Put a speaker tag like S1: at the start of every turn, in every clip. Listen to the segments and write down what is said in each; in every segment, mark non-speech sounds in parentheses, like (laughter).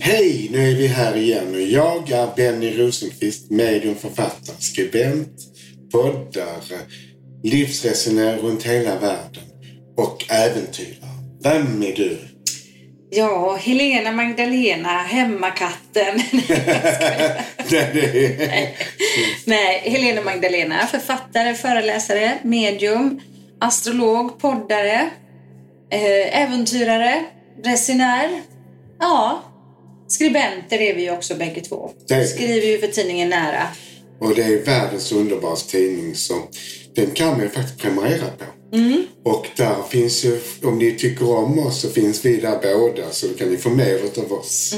S1: Hej, nu är vi här igen och jag är Benny Rosenqvist, medium, författare, skribent, poddare, livsresenär runt hela världen och äventyrare. Vem är du? (laughs)
S2: Ja, Helena Magdalena, hemmakatten.
S1: Nej, det är...
S2: Nej, Helena Magdalena, författare, föreläsare, medium, astrolog, poddare, eh, äventyrare, resenär. Ja, skribenter är vi ju också bägge två.
S1: Det är vi.
S2: Skriver ju för tidningen Nära.
S1: Och det är världens underbaraste tidning så den kan man ju faktiskt prenumerera på. Och där finns ju, om ni tycker om oss så finns vi där båda så då kan ni få mer utav oss.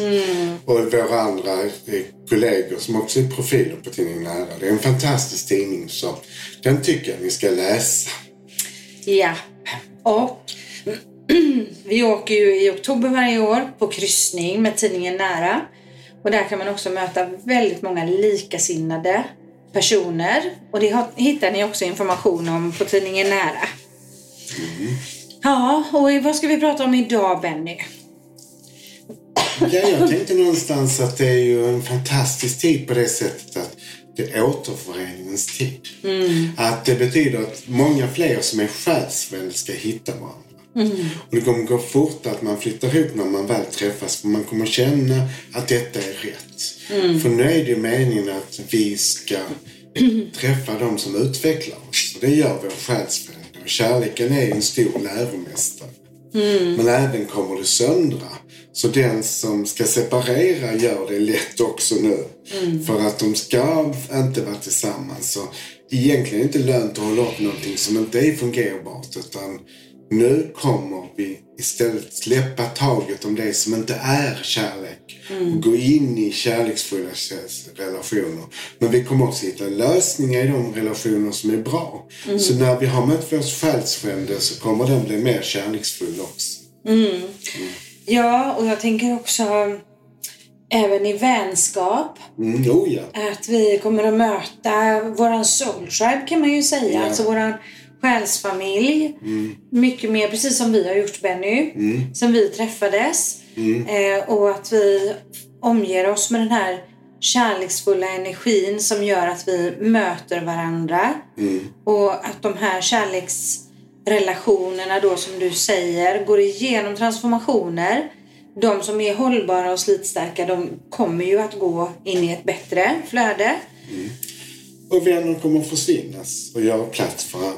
S1: Och våra andra eh, kollegor som också är profiler på tidningen Nära. Det är en fantastisk tidning så den tycker jag ni ska läsa.
S2: Ja, och (clears throat) vi åker ju i oktober varje år på kryssning med tidningen Nära. Och där kan man också möta väldigt många likasinnade personer. Och det har- hittar ni också information om på tidningen Nära. Ja, och i- vad ska vi prata om idag Benny?
S1: Ja, jag tänkte någonstans att det är ju en fantastisk tid på det sättet att det är återföreningens tid. Att det betyder att många fler som är själsvänner ska hitta varandra. Och det kommer gå fort att man flyttar ihop när man väl träffas för man kommer känna att detta är rätt. För nu är det ju meningen att vi ska träffa de som utvecklar oss. Och det gör vår själsvän. Och kärleken är ju en stor läromästare. Men även kommer det söndra. Så den som ska separera gör det lätt också nu. För att de ska inte vara tillsammans. Så egentligen är det inte lönt att hålla upp någonting som inte är fungerbart. Utan nu kommer vi istället släppa taget om det som inte är kärlek. Och gå in i kärleksfulla kärleks- relationer. Men vi kommer också hitta lösningar i de relationer som är bra. Så när vi har mött vår själsfrände så kommer den bli mer kärleksfull också.
S2: Ja, och jag tänker också även i vänskap.
S1: Mm, oh ja.
S2: att vi kommer att möta våran soul tribe kan man ju säga,
S1: Ja.
S2: alltså våran själsfamilj. Mycket mer, precis som vi har gjort Benny, sen vi träffades. Eh, och att vi omger oss med den här kärleksfulla energin som gör att vi möter varandra. Och att de här kärleksrelationerna då som du säger går igenom transformationer. De som är hållbara och slitstarka de kommer ju att gå in i ett bättre flöde.
S1: Och vänner kommer försvinnas och göra plats för andra.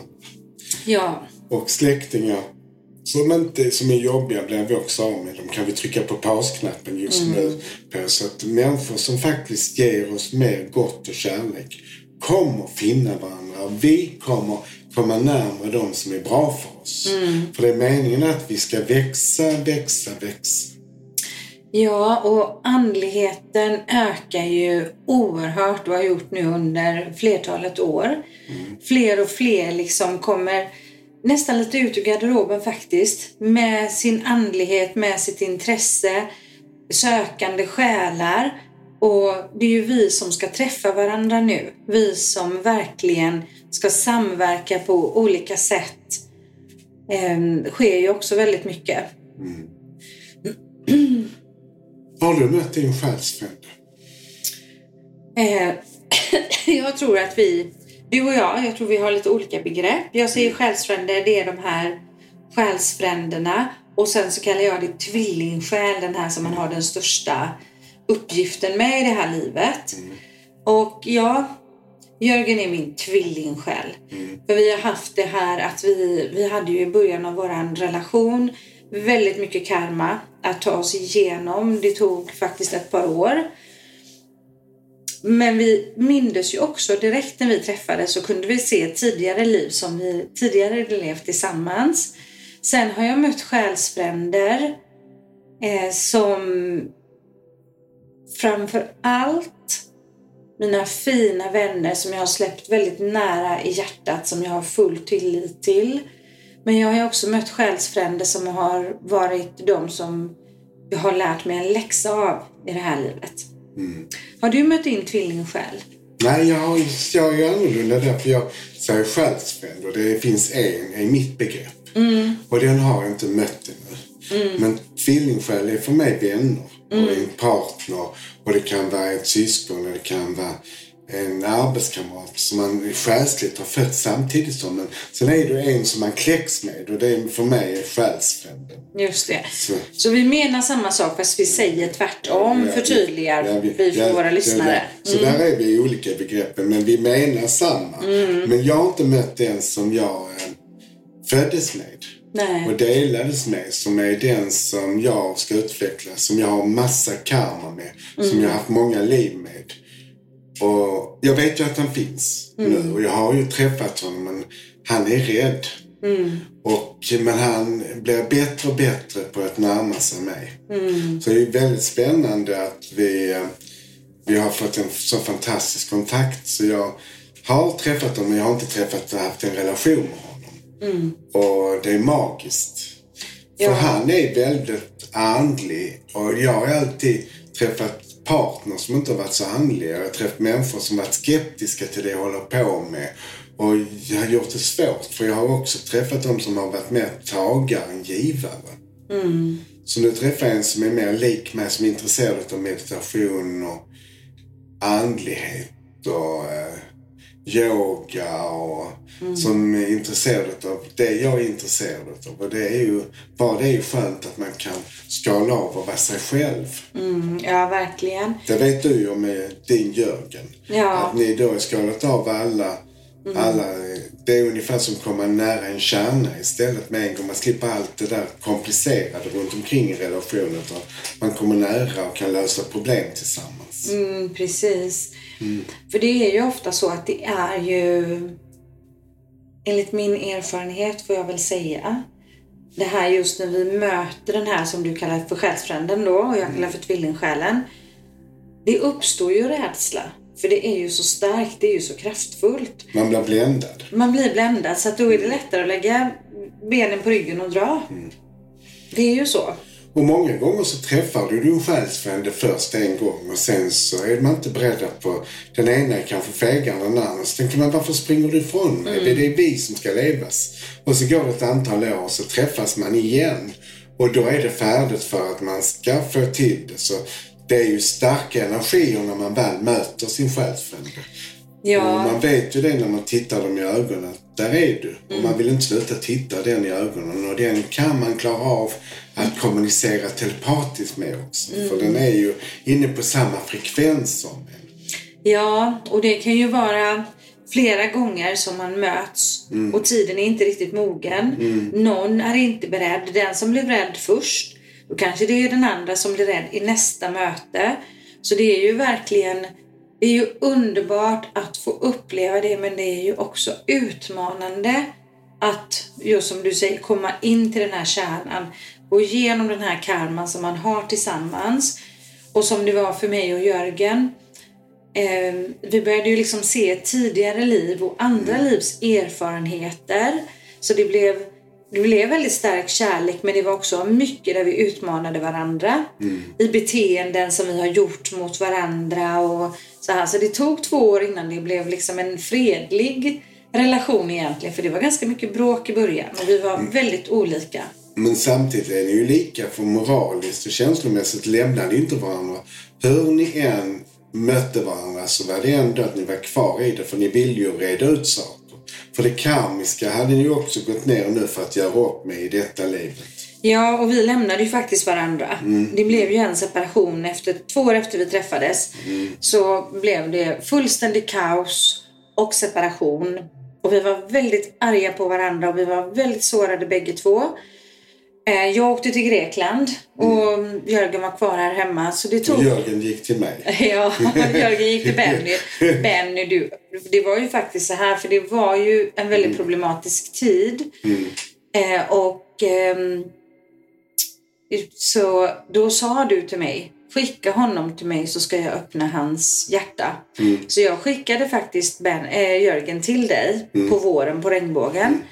S2: Ja,
S1: Och släktingar som, inte, som är jobbiga blir vi också av med. De kan vi trycka på pausknappen just nu. På. Så att människor som faktiskt ger oss mer gott och kärlek kommer finna varandra. Och Vi kommer komma närmare de som är bra för oss. För det är meningen att vi ska växa, växa, växa.
S2: ja och andligheten ökar ju oerhört och har gjort nu under flertalet år. Fler och fler liksom kommer nästan lite ut ur garderoben faktiskt. Med sin andlighet, med sitt intresse, sökande själar. Och det är ju vi som ska träffa varandra nu. Vi som verkligen ska samverka på olika sätt. Ehm, sker ju också väldigt mycket.
S1: Har du mött din själsfrände?
S2: Eh, (laughs) jag tror att vi, du och jag, jag tror vi har lite olika begrepp. Jag säger själsfränder, det är de här själsfränderna. Och sen så kallar jag det tvillingsjäl, den här som man har den största uppgiften med i det här livet. Och ja, Jörgen är min tvillingsjäl. För vi har haft det här att vi, vi hade ju i början av våran relation väldigt mycket karma att ta oss igenom. Det tog faktiskt ett par år. Men vi mindes ju också direkt när vi träffades så kunde vi se tidigare liv som vi tidigare levt tillsammans. Sen har jag mött själsfränder eh, som framför allt mina fina vänner som jag har släppt väldigt nära i hjärtat som jag har full tillit till. Men jag har ju också mött själsfränder som har varit de som jag har lärt mig en läxa av i det här livet. Har du mött din tvillingsjäl?
S1: Nej, jag, jag är annorlunda därför jag säger själsfränd och det finns en i mitt begrepp.
S2: Mm.
S1: Och den har inte mött ännu. Men tvillingsjäl är för mig vänner och en partner och det kan vara ett syskon och det kan vara en arbetskamrat som man själsligt har fött samtidigt som. Men sen är det en som man kläcks med och det är för mig är själsfränden.
S2: Just det.
S1: Så,
S2: Så vi menar samma sak fast vi säger tvärtom,
S1: ja,
S2: förtydligar
S1: ja,
S2: vi för
S1: ja,
S2: våra lyssnare. Mm.
S1: ja, Så där är vi i olika i begreppen men vi menar samma.
S2: Mm.
S1: Men jag har inte mött den som jag eh, föddes med. och
S2: Nej.
S1: delades med som är den som jag ska utveckla, som jag har massa karma med, som
S2: Mm.
S1: jag har haft många liv med. Och jag vet ju att han finns
S2: Mm.
S1: nu och jag har ju träffat honom men han är rädd.
S2: Mm.
S1: Och, men han blir bättre och bättre på att närma sig mig. Så det är väldigt spännande att vi, eh, vi har fått en så fantastisk kontakt. Så jag har träffat honom men jag har inte träffat och haft en relation med honom. Och det är magiskt.
S2: Ja.
S1: För han är väldigt andlig och jag har alltid träffat partner som inte har varit så andliga. Jag har träffat människor som varit skeptiska till det jag håller på med. Och jag har gjort det svårt för jag har också träffat de som har varit mer tagare än givare.
S2: Mm.
S1: Så nu träffar jag en som är mer lik mig, som är intresserad av meditation och andlighet och eh, yoga och som är intresserad av det jag är intresserad av. Och det är ju, bara det är ju skönt att man kan skala av och vara sig själv.
S2: Mm, ja, verkligen.
S1: Det vet du ju om eh, din Jörgen.
S2: Ja. Mm.
S1: Att ni då har skalat av alla, alla... Det är ungefär som att komma nära en kärna istället med en gång. Man slipper allt det där komplicerade runt omkring i relationen. Utan man kommer nära och kan lösa problem tillsammans.
S2: Mm, precis.
S1: Mm.
S2: För det är ju ofta så att det är ju, enligt min erfarenhet får jag väl säga, det här just när vi möter den här som du kallar för själsfränden då och
S1: Mm.
S2: jag kallar för tvillingsjälen. Det uppstår ju rädsla. För det är ju så starkt, det är ju så kraftfullt.
S1: Man blir bländad.
S2: Man blir bländad så att då är
S1: Mm.
S2: det lättare att lägga benen på ryggen och dra. Det är ju så.
S1: Och många gånger så träffar du din själsfrände först en gång och sen så är man inte beredda på... Den ena är kanske fegare än den andra. Så tänker man, varför springer du ifrån mig? Det är vi som ska levas. Och så går det ett antal år och så träffas man igen. Och då är det färdigt för att man ska få till det. Så det är ju starka energier när man väl möter sin själsfrände. Och
S2: Ja,
S1: man vet ju det när man tittar dem i ögonen. att Där är du.
S2: Mm.
S1: Och man vill inte sluta titta den i ögonen. Och den kan man klara av att kommunicera telepatiskt med också.
S2: Mm.
S1: För den är ju inne på samma frekvens som en.
S2: ja, och det kan ju vara flera gånger som man möts och tiden är inte riktigt mogen. Någon är inte beredd. Den som blev rädd först, då kanske det är den andra som blir rädd i nästa möte. Så det är ju verkligen det är ju underbart att få uppleva det men det är ju också utmanande att, just som du säger, komma in till den här kärnan. Gå igenom den här karman som man har tillsammans. Och som det var för mig och Jörgen. Eh, vi började ju liksom se tidigare liv och andra livs erfarenheter. Så det blev, det blev väldigt stark kärlek men det var också mycket där vi utmanade varandra. I beteenden som vi har gjort mot varandra och så här. Så det tog två år innan det blev liksom en fredlig relation egentligen. För det var ganska mycket bråk i början och vi var väldigt olika.
S1: Men samtidigt är ni ju lika för moraliskt och känslomässigt lämnade ni inte varandra. Hur ni än mötte varandra så var det ändå att ni var kvar i det för ni ville ju reda ut saker. För det karmiska hade ni ju också gått ner nu för att göra upp med i detta livet.
S2: Ja, och vi lämnade ju faktiskt varandra. Det blev ju en separation. Efter, två år efter vi träffades så blev det fullständig kaos och separation. Och vi var väldigt arga på varandra och vi var väldigt sårade bägge två. Eh, Jag åkte till Grekland och Jörgen var kvar här hemma. Så det tog...
S1: Jörgen gick till mig.
S2: (laughs) Ja, Jörgen gick till Benny. Benny, du, det var ju faktiskt så här, för det var ju en väldigt problematisk tid. Eh, och ehm, så då sa du till mig, skicka honom till mig så ska jag öppna hans hjärta. Så jag skickade faktiskt ben, eh, Jörgen till dig på våren på regnbågen.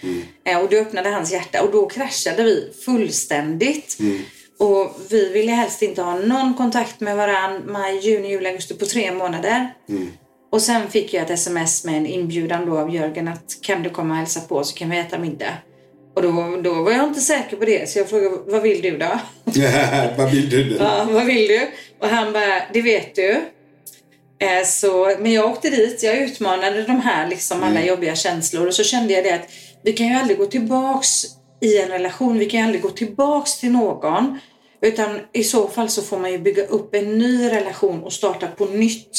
S2: Eh, och du öppnade hans hjärta och då kraschade vi fullständigt. Och vi ville helst inte ha någon kontakt med varandra maj, juni, juli, augusti på tre månader. Och sen fick jag ett sms med en inbjudan då av Jörgen att kan du komma och hälsa på så kan vi äta middag. Och då, då var jag inte säker på det, så jag frågade vad vill du då? (laughs)
S1: (laughs) Vad vill du nu?
S2: Ja, vad vill du? Och han bara, det vet du. Eh, Så, men jag åkte dit, jag utmanade de här liksom alla jobbiga känslor och så kände jag det att vi kan ju aldrig gå tillbaks i en relation, vi kan ju aldrig gå tillbaks till någon. Utan i så fall så får man ju bygga upp en ny relation och starta på nytt.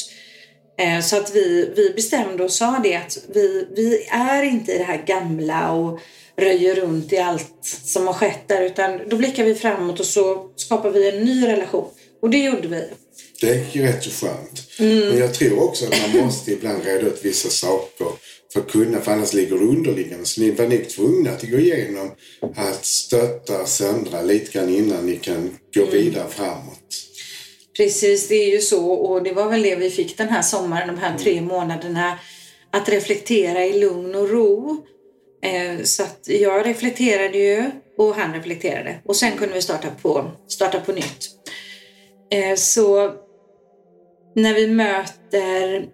S2: Eh, Så att vi, vi bestämde och sa det att vi, vi är inte i det här gamla och röjer runt i allt som har skett där utan då blickar vi framåt och så skapar vi en ny relation. Och det gjorde vi.
S1: Det är ju rätt så skönt. Men jag tror också att man måste ibland reda ut vissa saker för att kunna, för annars ligger det underliggande. Så ni var nog tvungna att gå igenom att stötta och söndra lite grann innan ni kan gå vidare framåt.
S2: Precis, det är ju så och det var väl det vi fick den här sommaren, de här tre månaderna. Att reflektera i lugn och ro. Eh, Så att jag reflekterade ju och han reflekterade och sen kunde vi starta på, starta på nytt. Eh, Så när vi möter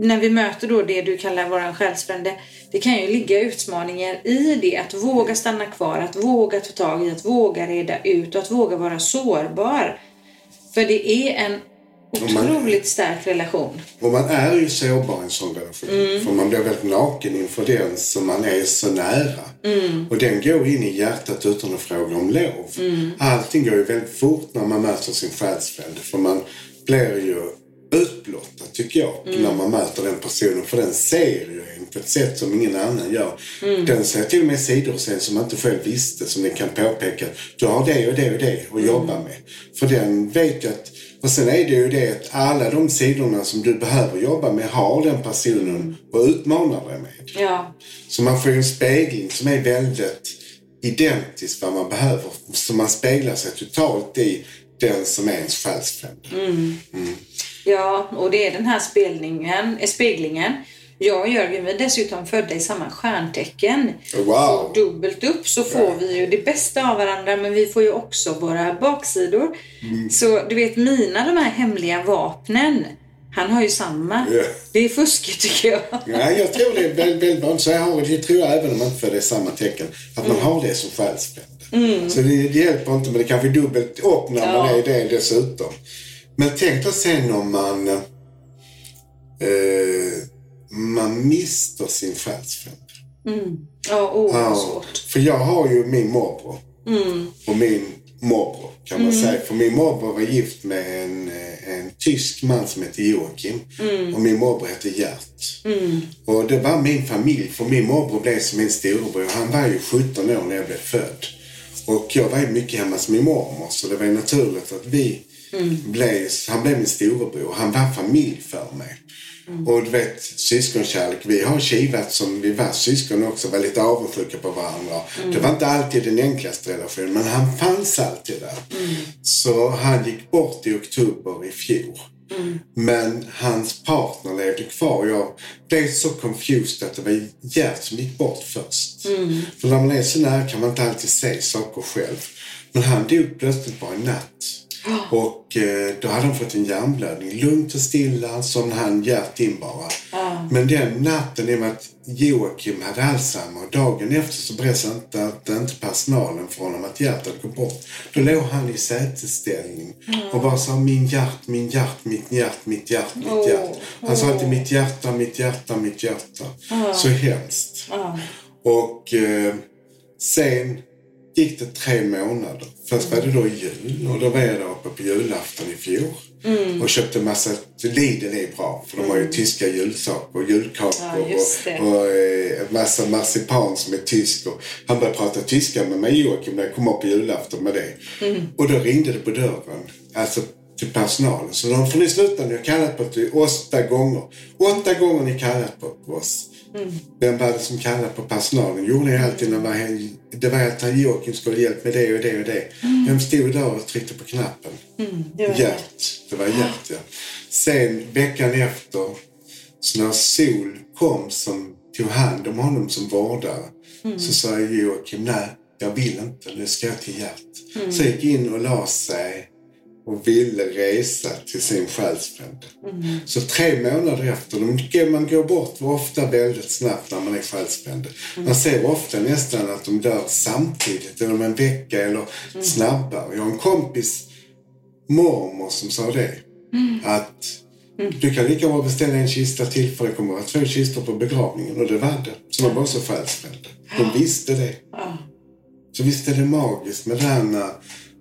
S2: när vi möter då det du kallar våran själsfrände, det kan ju ligga utmaningar i det. Att våga stanna kvar, att våga ta tag i, att våga reda ut och att våga vara sårbar. För det är en
S1: man-
S2: otroligt stark relation.
S1: Och man är ju sårbar i en sån relation. För man blir väldigt naken inför den som man är så nära. Och den går in i hjärtat utan att fråga om lov. Allting går ju väldigt fort när man möter sin själsfrände. För man blir ju utblottad, tycker jag, när man möter den personen. För den ser ju en på ett sätt som ingen annan gör. Den ser till och med sidor hos en som man inte själv visste, som den kan påpeka. Du har det och det och det att jobba med. För den vet ju att och sen är det ju det att alla de sidorna som du behöver jobba med har den personen och utmanar dig med.
S2: Ja,
S1: Så man får ju en spegling som är väldigt identisk vad man behöver. Så man speglar sig totalt i den som är ens själsfrände.
S2: ja och det är den här spelningen, eh, speglingen. Jag och Jörgen vi är dessutom födda i samma stjärntecken.
S1: Oh, Wow!
S2: Så dubbelt upp så får vi ju det bästa av varandra men vi får ju också våra baksidor.
S1: Mm.
S2: Så du vet mina de här hemliga vapnen, han har ju samma.
S1: Ja.
S2: Det är fuskigt tycker jag.
S1: Ja, jag tror det är väldigt, väldigt vanligt. Så jag har, det tror jag även om man inte får det i samma tecken. Att man har det som själsfrände. Så det, det hjälper inte men det kanske är dubbelt upp när man
S2: Ja.
S1: är det dessutom. Men tänk dig sen om man eh, man mister sin själsfrände.
S2: Ja, oh, vad
S1: Ja,
S2: svårt.
S1: för jag har ju min morbror. Och min morbror kan man säga. För min morbror var gift med en, eh, en tysk man som hette Joakim. Och min morbror hette Gert. Och det var min familj. För min morbror blev som min storebror. Han var ju 17 år när jag blev född. Och jag var ju mycket hemma hos min mormor. Så det var ju naturligt att vi blev, han blev min storebror. Han var familj för mig. Mm. Och du vet, syskonkärlek. Vi har kivat som vi var syskon också. Var lite avundsjuka på varandra. Det var inte alltid den enklaste relationen. Men han fanns alltid där. Så han gick bort i oktober i fjol. Men hans partner levde kvar. och Jag blev så confused att det var Gert som gick bort först. För när man är så nära kan man inte alltid se saker själv. Men han dog plötsligt bara en natt. Och eh, då hade han fått en hjärnblödning. Lugnt och stilla, som han Gert in bara. Men den natten, i och med att Joakim hade Alzheimer och dagen efter så berättade inte, att inte personalen för honom att Gert hade gått bort. Då låg han i sätesställning och bara sa min hjärt, min hjärt, mitt hjärt, mitt hjärt, mitt
S2: Åh.
S1: hjärt. Han sa alltid mitt hjärta, mitt hjärta, mitt hjärta. Så hemskt. Och eh, sen gick det tre månader. Först var det då jul och då var jag där uppe på julafton i fjol.
S2: Mm.
S1: Och köpte massa, Lidl är bra för de har ju tyska julsaker och julkakor
S2: Ja, just det.
S1: och, och eh, massa marsipan som är tysk. Och han började prata tyska med mig Joakim när jag kom upp på julafton med det. Och då ringde det på dörren, alltså till personalen. Så de får ni sluta, ni har kallat på till åtta gånger. Åtta gånger har ni kallat på oss. Vem var det som kallade på personalen? Jo, det är alltid när man, det var att han Joakim skulle ha hjälp med det och det och det. Vem stod där och tryckte på knappen?
S2: Mm, Det var det.
S1: Hjärt. Det var hjärt, ja. Sen veckan efter, så när Sol kom som tog hand om honom som vårdare, så sa jag Joakim, nej, jag vill inte, nu ska jag till hjärt. Så jag gick in och la sig och ville resa till sin själsfrände. Så tre månader efter, de, man går bort ofta väldigt snabbt när man är själsfrände. Man ser ofta nästan att de dör samtidigt, eller om en vecka eller snabbare. Jag har en kompis mormor som sa det. Att du kan lika bra beställa en kista till för det kommer att vara två kistor på begravningen. Och det var det. Så man var så själsfrände. De visste det.
S2: Ja.
S1: Så visst är det magiskt med det här när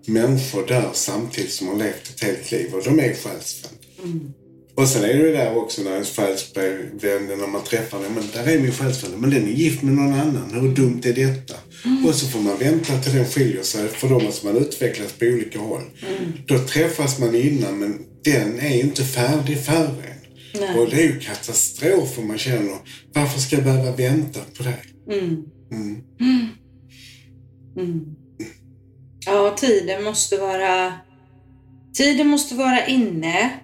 S1: människor dör samtidigt som har levt ett helt liv och de är själsfrände. Och sen är det ju där också när ens själsfrände, när man träffar den, men där är min själsfrände, men den är gift med någon annan, hur dumt är detta? Och så får man vänta till den skiljer sig, för då måste man utvecklas på olika håll. Då träffas man innan, men den är ju inte färdig för en.
S2: Nej.
S1: Och det är ju katastrof om man känner, varför ska jag behöva vänta på det?
S2: Mm.
S1: Mm.
S2: Mm. Ja, tiden måste vara... Tiden måste vara inne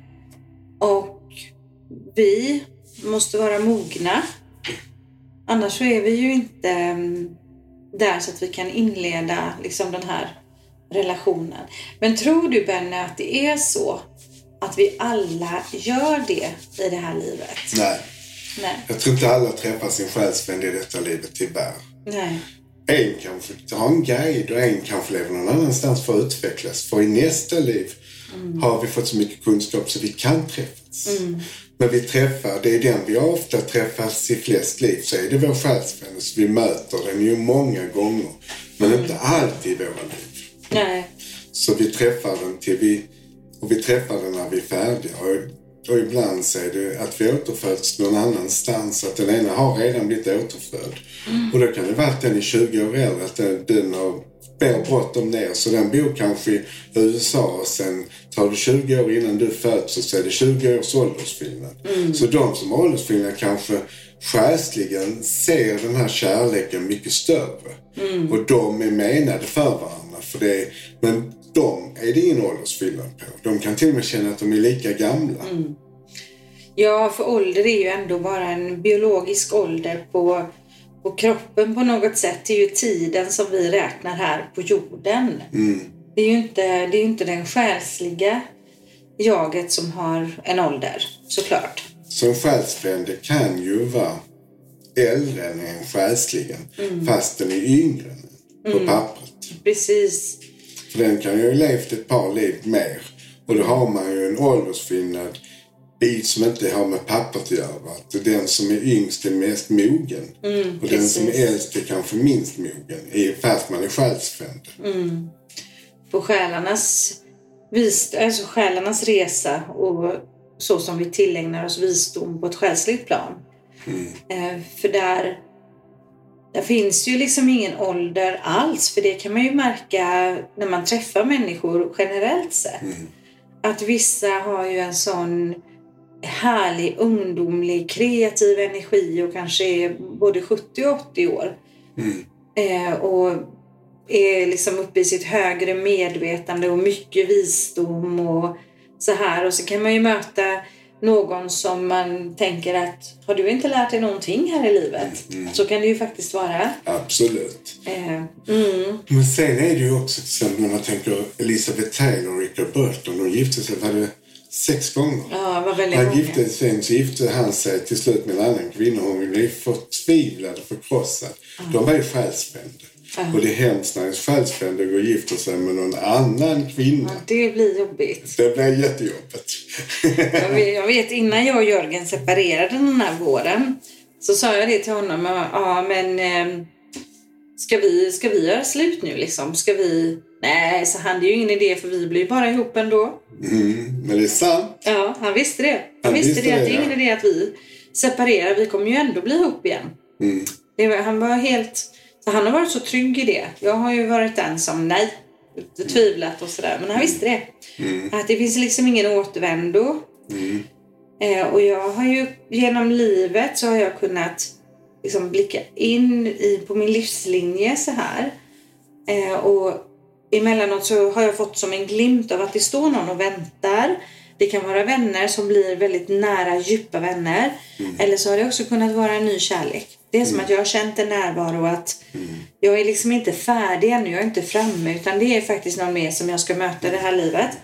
S2: och vi måste vara mogna. Annars så är vi ju inte mm, där så att vi kan inleda liksom den här relationen. Men tror du Benny att det är så att vi alla gör det i det här livet?
S1: Nej.
S2: Nej.
S1: Jag tror inte alla träffar sin själsvän i detta livet tyvärr.
S2: Nej.
S1: En kanske har en guide och en kanske lever någon annanstans för att utvecklas. För i nästa liv har vi fått så mycket kunskap så vi kan träffas. Men vi träffar, det är den vi ofta träffas i flest liv, så är det vår själsvän. Så vi möter den ju många gånger, men inte alltid i våra liv.
S2: Nej.
S1: Så vi träffar den till vi, och vi träffar den när vi är färdiga. Och, och ibland så är det att vi återföds någon annanstans, att den ena har redan blivit återfödd. Och då kan det vara att den är 20 år äldre, att den, den har mer bråttom ner. Så den bor kanske i USA och sen tar det 20 år innan du föds och så är det 20 års åldersskillnad. Så de som har åldersskillnad kanske själsligen ser den här kärleken mycket större. Och de är menade för varandra. För det är, men de är det ingen åldersskillnad på. De kan till och med känna att de är lika gamla.
S2: Ja, för ålder är ju ändå bara en biologisk ålder på, på kroppen på något sätt. Det är ju tiden som vi räknar här på jorden. Det är ju inte, det är ju inte den själsliga jaget som har en ålder, såklart.
S1: Så en själsfrände kan ju vara äldre än en själsligen. Fast den är yngre än en på pappret.
S2: Precis.
S1: För den kan ju ha levt ett par liv mer. Och då har man ju en åldersskillnad i som inte har med pappret att göra. Att den som är yngst är mest mogen. och den som är
S2: precis.
S1: äldst är kanske minst mogen. i- Fast man är själsfrände.
S2: På själarnas, vis, alltså själarnas resa och så som vi tillägnar oss visdom på ett själsligt plan. Eh, För där, där finns ju liksom ingen ålder alls. För det kan man ju märka när man träffar människor generellt sett. Att vissa har ju en sån härlig ungdomlig kreativ energi och kanske är både 70 och 80 år. Eh, och är liksom uppe i sitt högre medvetande och mycket visdom och så här. Och så kan man ju möta någon som man tänker att har du inte lärt dig någonting här i livet? Så kan det ju faktiskt vara.
S1: Absolut.
S2: Eh, mm,
S1: Men sen är det ju också till exempel när man tänker Elizabeth Taylor och Richard Burton. De gifte sig, var det sex gånger?
S2: ja, var väldigt
S1: Han
S2: många.
S1: gifte, sen så gifte han sig till slut med en annan kvinna. Hon blev förtvivlad och förkrossad. De var ju själsfrände. Och det är hemskt när ens själsfrände går och gifter sig med någon annan kvinna.
S2: Ja, det blir jobbigt.
S1: Det blir jättejobbigt. (laughs)
S2: Jag vet, jag vet innan jag och Jörgen separerade den här våren så sa jag det till honom. Ja, men eh, ska vi, ska vi göra slut nu liksom? Ska vi? Nej, så han det är ju ingen idé för vi blir ju bara ihop ändå.
S1: Mm, men det är sant.
S2: Ja, han visste det. Han, visste, det, att det är
S1: ja.
S2: ingen idé att vi separerar. Vi kommer ju ändå bli ihop igen.
S1: Mm.
S2: Det var, han var helt... Så han har varit så trygg i det. Jag har ju varit den som nej, tvivlat och sådär. Men han visste det. Att det finns liksom ingen återvändo. Eh, och jag har ju genom livet så har jag kunnat liksom blicka in i, på min livslinje så här. Eh, och emellanåt så har jag fått som en glimt av att det står någon och väntar. Det kan vara vänner som blir väldigt nära, djupa vänner. Eller så har det också kunnat vara en ny kärlek. Det är som att jag har känt en närvaro att jag är liksom inte färdig ännu, jag är inte framme utan det är faktiskt någon mer som jag ska möta i det här livet.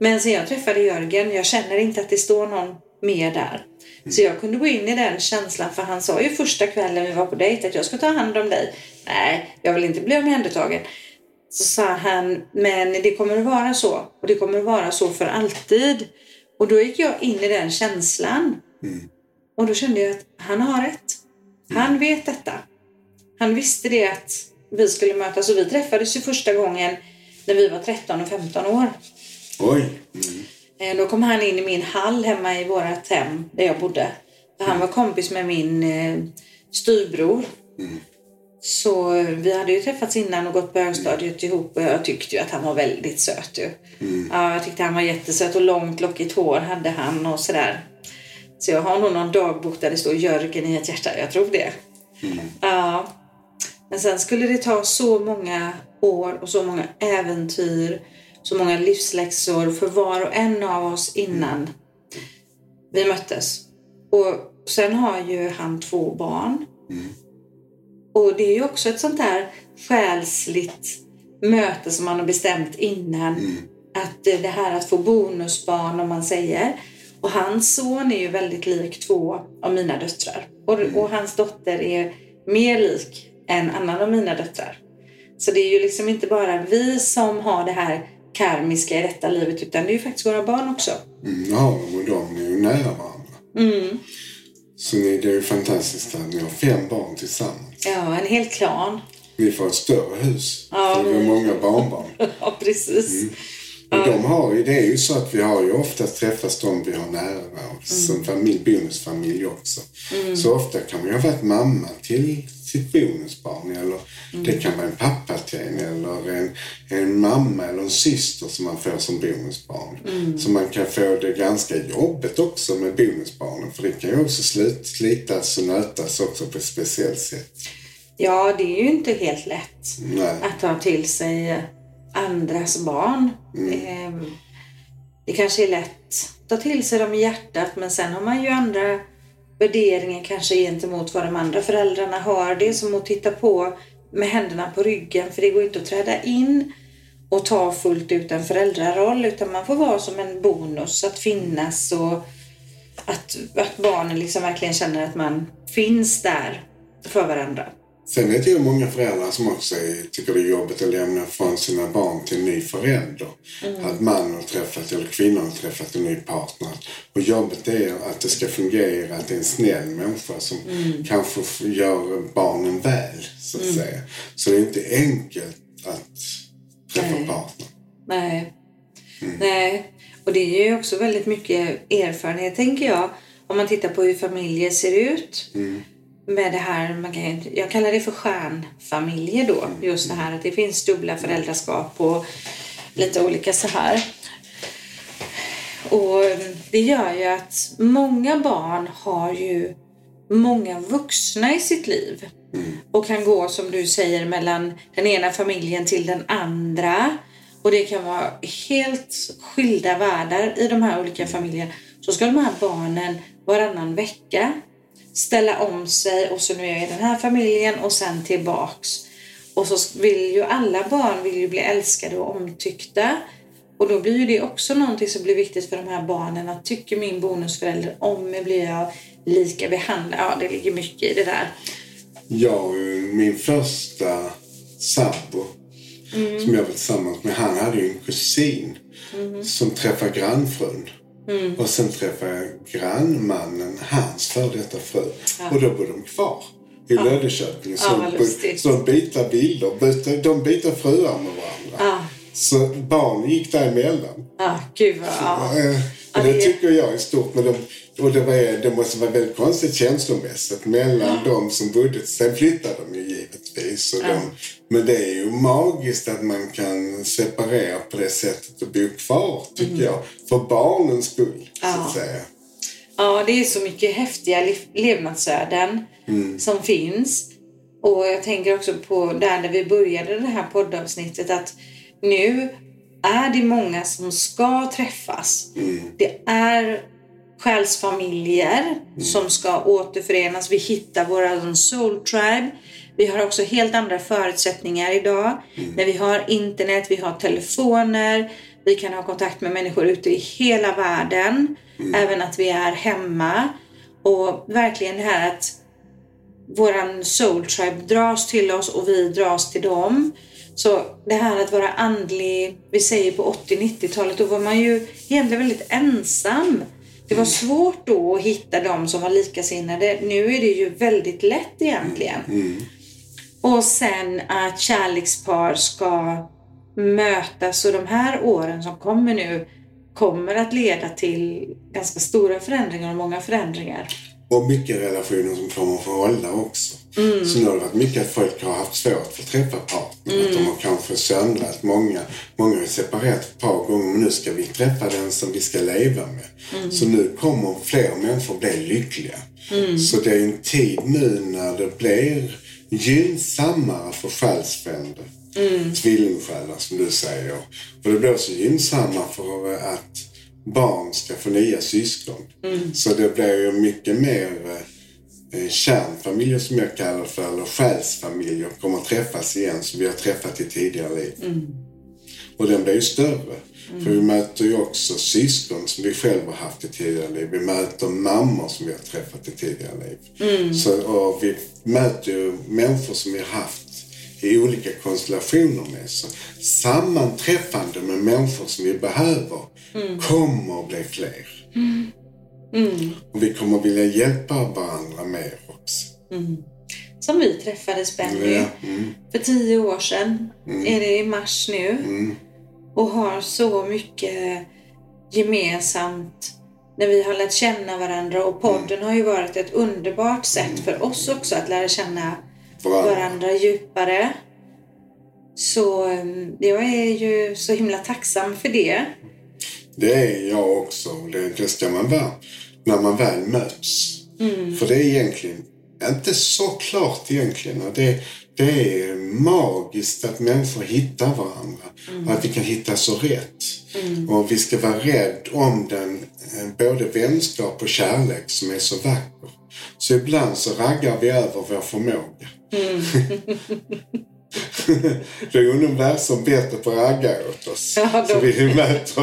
S2: Men sen jag träffade Jörgen, jag känner inte att det står någon mer där. Så jag kunde gå in i den känslan för han sa ju första kvällen vi var på dejt att jag ska ta hand om dig. Nej, jag vill inte bli omhändertagen. Så sa han, men det kommer att vara så och det kommer att vara så för alltid. Och då gick jag in i den känslan. Och då kände jag att han har rätt. Han vet detta. Han visste det att vi skulle mötas och vi träffades ju första gången när vi var 13 och 15 år.
S1: Oj. Mm.
S2: Eh, Då kom han in i min hall hemma i vårt hem där jag bodde. För han var kompis med min eh, styrbror. Så eh, vi hade ju träffats innan och gått på högstadiet ihop och jag tyckte ju att han var väldigt söt ju. Ja, jag tyckte han var jättesöt och långt lockigt hår hade han och sådär. Så jag har nog någon dagbok där det står Jörgen i ett hjärta, jag tror det. Ja. Men sen skulle det ta så många år och så många äventyr, så många livsläxor för var och en av oss innan vi möttes. Och sen har ju han två barn. Och det är ju också ett sånt där själsligt möte som man har bestämt innan. Att eh, det här att få bonusbarn om man säger. Och hans son är ju väldigt lik två av mina döttrar. Och, och hans dotter är mer lik en annan av mina döttrar. Så det är ju liksom inte bara vi som har det här karmiska i detta livet utan det är ju faktiskt våra barn också.
S1: Mm, ja, och de är ju nära varandra.
S2: Mm.
S1: Så ni- det är ju fantastiskt att ni har fem barn tillsammans.
S2: Ja, en hel klan. (laughs)
S1: Ni får ett större hus.
S2: Ja,
S1: för det är
S2: vi-
S1: många barnbarn.
S2: Ja, precis.
S1: Och de har ju, det är ju så att vi har ju oftast träffats de vi har nära och som familj, bonusfamilj också. Så ofta kan man ju ha varit mamma till sitt bonusbarn eller det kan vara en pappa till en eller en, en mamma eller en syster som man får som bonusbarn. Så man kan få det ganska jobbigt också med bonusbarnen för det kan ju också slit, slitas och nötas också på ett speciellt sätt.
S2: Ja, det är ju inte helt lätt
S1: Nej.
S2: att ta till sig andras barn. Ehm, Det kanske är lätt att ta till sig dem i hjärtat men sen har man ju andra värderingar kanske gentemot vad de andra föräldrarna har. Det är som att titta på med händerna på ryggen för det går inte att träda in och ta fullt ut en föräldraroll utan man får vara som en bonus att finnas och att, att barnen liksom verkligen känner att man finns där för varandra.
S1: Sen vet jag många föräldrar som också är- tycker det är jobbigt att lämna från sina barn till en ny förälder. Att man har träffat eller kvinnan har träffat en ny partner. Och jobbet är att det ska fungera, att det är en snäll människa som kanske f- gör barnen väl, så att säga. Så det är inte enkelt att träffa
S2: Nej.
S1: partner.
S2: Nej. Nej. Och det är ju också väldigt mycket erfarenhet, tänker jag. Om man tittar på hur familjer ser ut. Med det här, man kan, jag kallar det för stjärnfamiljer då. Just det här att det finns dubbla föräldraskap och lite olika så här. Och mm, det gör ju att många barn har ju många vuxna i sitt liv. Och kan gå som du säger mellan den ena familjen till den andra. Och det kan vara helt skilda världar i de här olika familjerna. Så ska de här barnen varannan vecka ställa om sig och så nu är jag i den här familjen och sen tillbaks. Och så vill ju alla barn vill ju bli älskade och omtyckta. Och då blir ju det också någonting som blir viktigt för de här barnen. Att tycker min bonusförälder om mig blir jag lika behandlad. Ja, det ligger mycket i det där.
S1: Jag, och min första sambo
S2: Mm.
S1: som jag var tillsammans med, han hade ju en kusin
S2: Mm.
S1: som träffade grannfrun. Och sen träffade jag grannmannen, hans före detta fru. Och då bodde de kvar i Löddeköping. Så,
S2: Ja, vad
S1: de, bo-
S2: lustigt.
S1: så de bytte bilder, bytte, de bytte fruar med varandra.
S2: Ja,
S1: Så barn gick däremellan.
S2: ja Ah, gud vad... Ja.
S1: Ja, eh,
S2: Ja,
S1: Och det
S2: det-
S1: tycker jag är stort. Men de, och det, var, det måste vara väldigt konstigt känslomässigt mellan de som bodde. Sen flyttade de ju givetvis. Och de, men det är ju magiskt att man kan separera på det sättet och bo kvar, tycker
S2: Mm.
S1: jag. För barnens skull, så att säga.
S2: Ja, det är så mycket häftiga liv- levnadsöden som finns. Och jag tänker också på där när vi började det här poddavsnittet att nu är det många som ska träffas. Det är själsfamiljer som ska återförenas. Vi hittar våra soul tribe. Vi har också helt andra förutsättningar idag. När vi har internet, vi har telefoner, vi kan ha kontakt med människor ute i hela världen. Även att vi är hemma. Och verkligen det här att våran soul tribe dras till oss och vi dras till dem. Så det här att vara andlig, vi säger på 80-90-talet, då var man ju egentligen väldigt ensam. Det var svårt då att hitta de som var likasinnade. Nu är det ju väldigt lätt egentligen.
S1: Mm.
S2: Och sen att kärlekspar ska mötas och de här åren som kommer nu kommer att leda till ganska stora förändringar och många förändringar.
S1: Och mycket relationer som kommer att få hålla också. Så nu har det varit mycket att folk har haft svårt för att träffa partner. Att de har kanske söndrat. Många, många har ju separerat ett par gånger men nu ska vi träffa den som vi ska leva med. Så nu kommer fler människor bli lyckliga. Så det är en tid nu när det blir gynnsammare för själsfränder. Tvillingsjälar som du säger. Och det blir också gynnsammare för att barn ska få nya syskon. Så det blir ju mycket mer eh, kärnfamiljer som jag kallar det för, eller själsfamiljer, kommer att träffas igen som vi har träffat i tidigare liv. Och den blir ju större. För vi möter ju också syskon som vi själva har haft i tidigare liv. Vi möter mammor som vi har träffat i tidigare liv. Så, och vi möter ju människor som vi har haft i olika konstellationer med. Så sammanträffande med människor som vi behöver kommer att bli fler.
S2: Mm.
S1: Och vi kommer vilja hjälpa varandra mer också.
S2: Som vi träffades Benny
S1: Ja, mm.
S2: för tio år sedan. Är det i mars nu?
S1: Mm.
S2: Och har så mycket gemensamt när vi har lärt känna varandra. Och podden
S1: Mm.
S2: har ju varit ett underbart sätt för oss också att lära känna
S1: Varandra.
S2: varandra djupare. Så eh, jag är ju så himla tacksam för det.
S1: Det är jag också. och Det, det ska man vara när man väl möts. För det är egentligen inte så klart egentligen. Och Det, det är magiskt att människor hittar varandra. Och att vi kan hitta så rätt. Och vi ska vara rädd om den, eh, både vänskap och kärlek som är så vacker. Så ibland så raggar vi över vår förmåga. (laughs) Det är universum bättre på att ragga åt oss.
S2: Ja, de-
S1: Så (laughs) vi möter,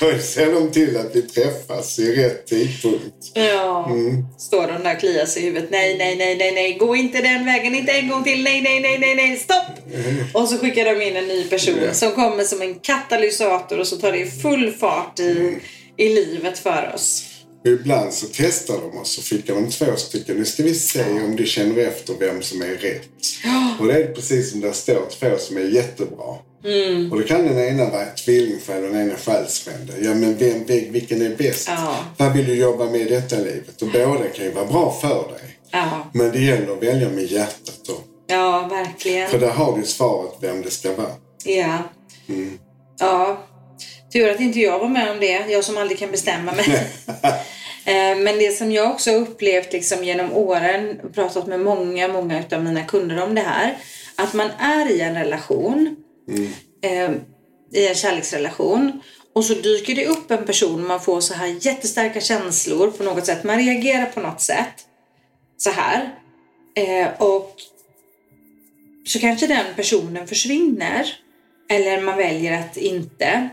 S1: då ser de till att vi träffas i rätt tidpunkt.
S2: Ja,
S1: Mm.
S2: står de där och kliar sig i huvudet. Nej, nej, nej, nej, nej, gå inte den vägen, inte en gång till. Nej, nej, nej, nej, nej, stopp! Och så skickar de in en ny person
S1: Ja.
S2: som kommer som en katalysator och så tar det full fart i, i livet för oss.
S1: Och ibland så testar de oss och skickar de två stycken. Nu ska vi se om du känner efter vem som är rätt. Och det är precis som det står två som är jättebra. Och då kan den ena vara tvillingsjäl och den ena själsfrände. Ja men vem, vil- vilken är bäst?
S2: Ja.
S1: Vad vill du jobba med i detta livet? Och båda kan ju vara bra för dig.
S2: Ja,
S1: Men det gäller att välja med hjärtat då.
S2: ja verkligen.
S1: För där har du svaret vem det ska vara.
S2: Ja. Ja. Tur att inte jag var med om det, jag som aldrig kan bestämma mig. (laughs) Eh, Men det som jag också har upplevt liksom genom åren, och pratat med många, många av mina kunder om det här, att man är i en relation, eh, i en kärleksrelation, och så dyker det upp en person och man får så här jättestarka känslor på något sätt. Man reagerar på något sätt så här. Eh, och så kanske den personen försvinner. Eller man väljer att inte.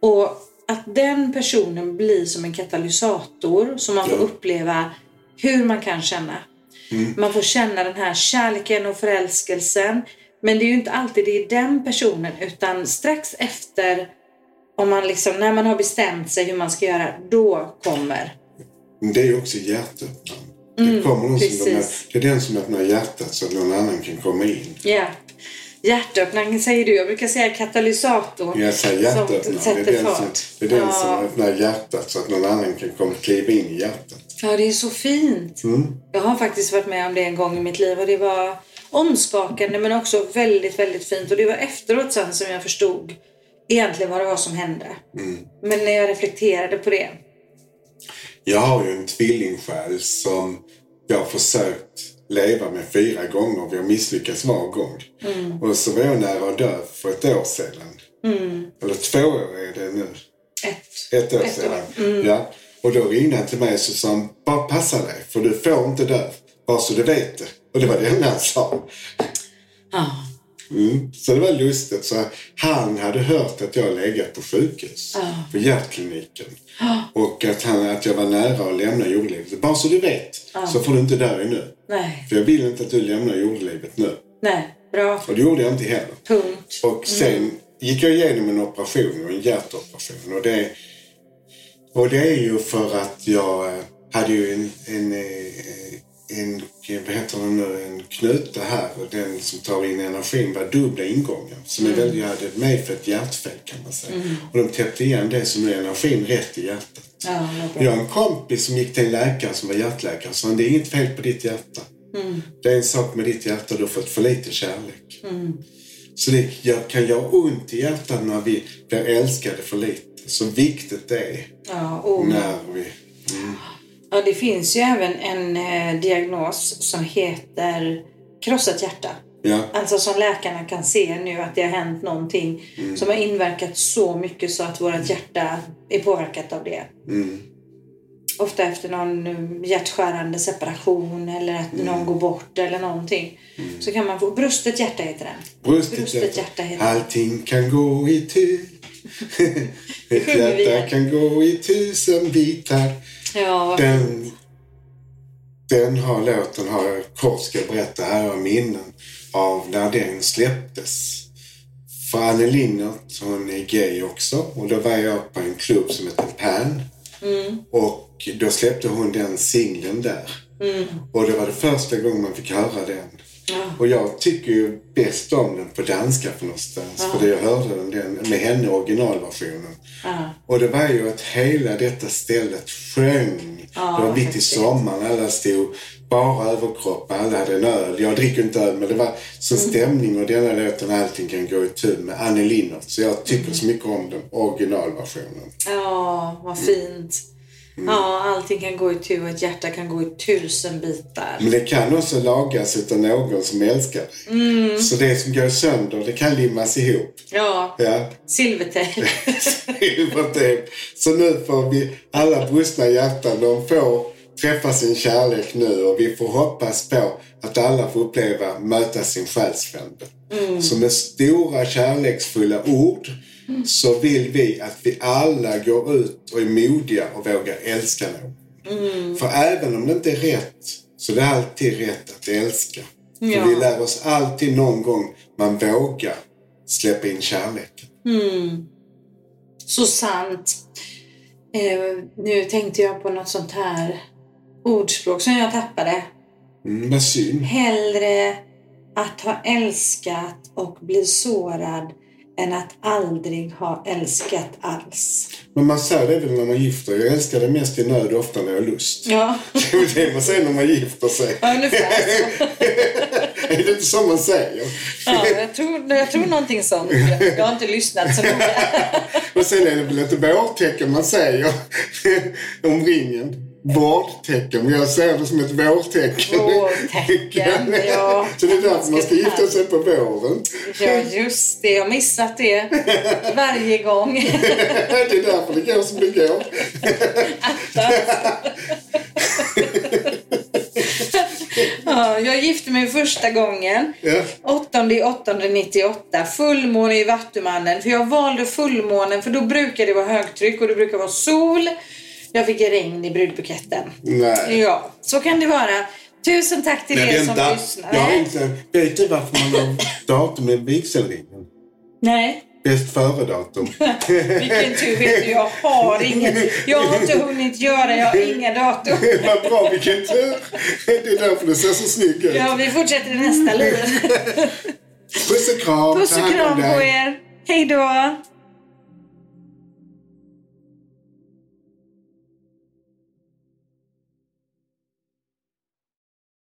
S2: Och att den personen blir som en katalysator som man får
S1: Ja.
S2: uppleva hur man kan känna. Man får känna den här kärleken och förälskelsen. Men det är ju inte alltid det är den personen utan strax efter om man liksom, när man har bestämt sig hur man ska göra, då kommer.
S1: Men det är ju också hjärtöppnaren. det, kommer någon som de,
S2: Mm, precis.
S1: det är den som öppnar hjärtat så att någon annan kan komma in.
S2: Ja. Hjärtöppnaren säger du, jag brukar säga katalysatorn.
S1: Jag säger
S2: Som
S1: hjärtöppnaren. Det
S2: sätter
S1: är den, som,
S2: fart.
S1: det är den
S2: Ja.
S1: som öppnar hjärtat så att någon annan kan komma, kliva in i hjärtat.
S2: Ja, det är så fint.
S1: Mm.
S2: Jag har faktiskt varit med om det en gång i mitt liv och det var omskakande men också väldigt, väldigt fint. Och det var efteråt sen som jag förstod egentligen vad det var som hände.
S1: Mm.
S2: Men när jag reflekterade på det.
S1: Jag har ju en tvillingsjäl som jag har försökt leva med fyra gånger. Vi har misslyckats var gång.
S2: Mm.
S1: Och så var jag nära att dö för ett år
S2: Mm.
S1: sedan. Eller två år är det nu.
S2: Ett.
S1: Ett år
S2: Ett år. Mm.
S1: sedan. Ja. Och då ringde han till mig och så sa han, bara passa dig för du får inte dö. Bara så du vet det. Och det var det enda han sa.
S2: Ja.
S1: Mm. Så det var lustigt. Så han hade hört att jag legat på sjukhus,
S2: Ja.
S1: på hjärtkliniken. Och att, han, att jag var nära att lämna jordlivet. Bara så du vet, så får du inte dö nu.
S2: Nej.
S1: För jag vill inte att du lämnar jordlivet nu.
S2: Nej. Bra.
S1: Och det gjorde jag inte heller.
S2: Punkt.
S1: Och sen gick jag igenom en operation, en hjärtoperation. Och det, och det är ju för att jag eh, hade ju en, en, eh, en, vad heter det nu, en knuta här. Och den som tar in energin var dubbla ingångar. Som är väldigt, jag hade medfött hjärtfel kan man säga. Och de täppte igen det som är energin rätt i hjärtat.
S2: Ja, vad bra.
S1: Jag har en kompis som gick till en läkare som var hjärtläkare. Så han, det är inget fel på ditt hjärta.
S2: Mm.
S1: Det är en sak med ditt hjärta, du har fått för lite kärlek.
S2: Mm.
S1: Så det jag kan göra ont i hjärtat när vi blir älskade för lite. Så viktigt det är
S2: Ja, oh. och,
S1: när vi...
S2: ja, det finns ju även en eh, diagnos som heter krossat hjärta.
S1: Ja,
S2: Alltså som läkarna kan se nu att det har hänt någonting som har inverkat så mycket så att vårt hjärta är påverkat av det. Ofta efter någon eh, hjärtskärande separation eller att någon går bort eller någonting. Så kan man få brustet hjärta heter den.
S1: bröstet,
S2: Bröstet hjärta heter det.
S1: Allting kan gå i (laughs) tu. Ett
S2: sjunger vi
S1: hjärta
S2: här.
S1: kan gå i tusen bitar.
S2: Ja,
S1: Den, den har låten har jag kort ska berätta här har minnen av när den släpptes. För Anne Linnert, hon är gay också och då var jag på en klubb som heter Pan. Och då släppte hon den singeln där. Och det var det första gången man fick höra den. Och jag tycker ju bäst om den på danska för någonstans. För det jag hörde den, den med henne originalversionen. Och det var ju att hela detta stället sjöng. det var mitt i sommaren. Alla stod bara överkropp. Alla hade en öl. Jag dricker inte öl men det var sån stämning och denna låten Allting kan gå i tur med Annie Linnert. Så jag tycker så mycket om den originalversionen.
S2: ja vad fint. Ja, allting kan gå i tu och ett hjärta kan gå i tusen bitar.
S1: Men det kan också lagas utav någon som älskar dig. Så det som går sönder det kan limmas ihop.
S2: Ja,
S1: Ja.
S2: silvertejp.
S1: Silvertejp. typ. Så nu får vi alla brustna hjärtan, de får träffa sin kärlek nu och vi får hoppas på att alla får uppleva möta sin själsfrände. Så med stora kärleksfulla ord så vill vi att vi alla går ut och är modiga och vågar älska någon. För även om det inte är rätt så är det alltid rätt att älska.
S2: Ja.
S1: För vi lär oss alltid någon gång man vågar släppa in kärleken.
S2: Mm. Så sant. Eh, nu tänkte jag på något sånt här ordspråk som jag tappade.
S1: Mm, vad synd.
S2: Hellre att ha älskat och bli sårad än att aldrig ha älskat alls.
S1: Men man säger det väl när man gifter Jag älskar det mest i nöd och ofta när jag har lust.
S2: Ja,
S1: (laughs) Det är väl det man säger när man gifter sig.
S2: ja ungefär så.
S1: (laughs) Är det inte så man säger?
S2: Ja, jag, tror, jag tror någonting sånt. Jag, jag har inte lyssnat så noga.
S1: Och sen är det väl ett vårtecken man säger (laughs) om ringen. Vårdtecken. Men jag ser det som ett vårtecken. (laughs)
S2: Vårtecken, ja.
S1: Så det är därför man ska gifta sig på våren. (laughs)
S2: Ja, just det. Jag har missat det varje gång.
S1: Det är därför det går som det går.
S2: Ja, jag gifte mig första gången.
S1: Ja.
S2: 8 i 8 98, fullmåne i Vattumannen. För jag valde fullmånen för då brukar det vara högtryck och det brukar vara sol. Jag fick regn i brudbuketten.
S1: Nej.
S2: Ja, så kan det vara. Tusen tack till
S1: Nej,
S2: er som
S1: vänta.
S2: lyssnar.
S1: Jag har
S2: Nej.
S1: inte... Vet du varför man har datum i vigselringen?
S2: Nej,
S1: Bäst före-datum.
S2: vilken tur vet du. Jag har inget. Jag har inte hunnit göra, jag har inga datum.
S1: Vad bra, vilken tur! Det är därför du ser så snygg ut.
S2: Ja, vi fortsätter i nästa liv.
S1: (laughs) Puss och kram,
S2: Puss
S1: ta
S2: och
S1: hand om
S2: kram på
S1: dig.
S2: er. Hej då!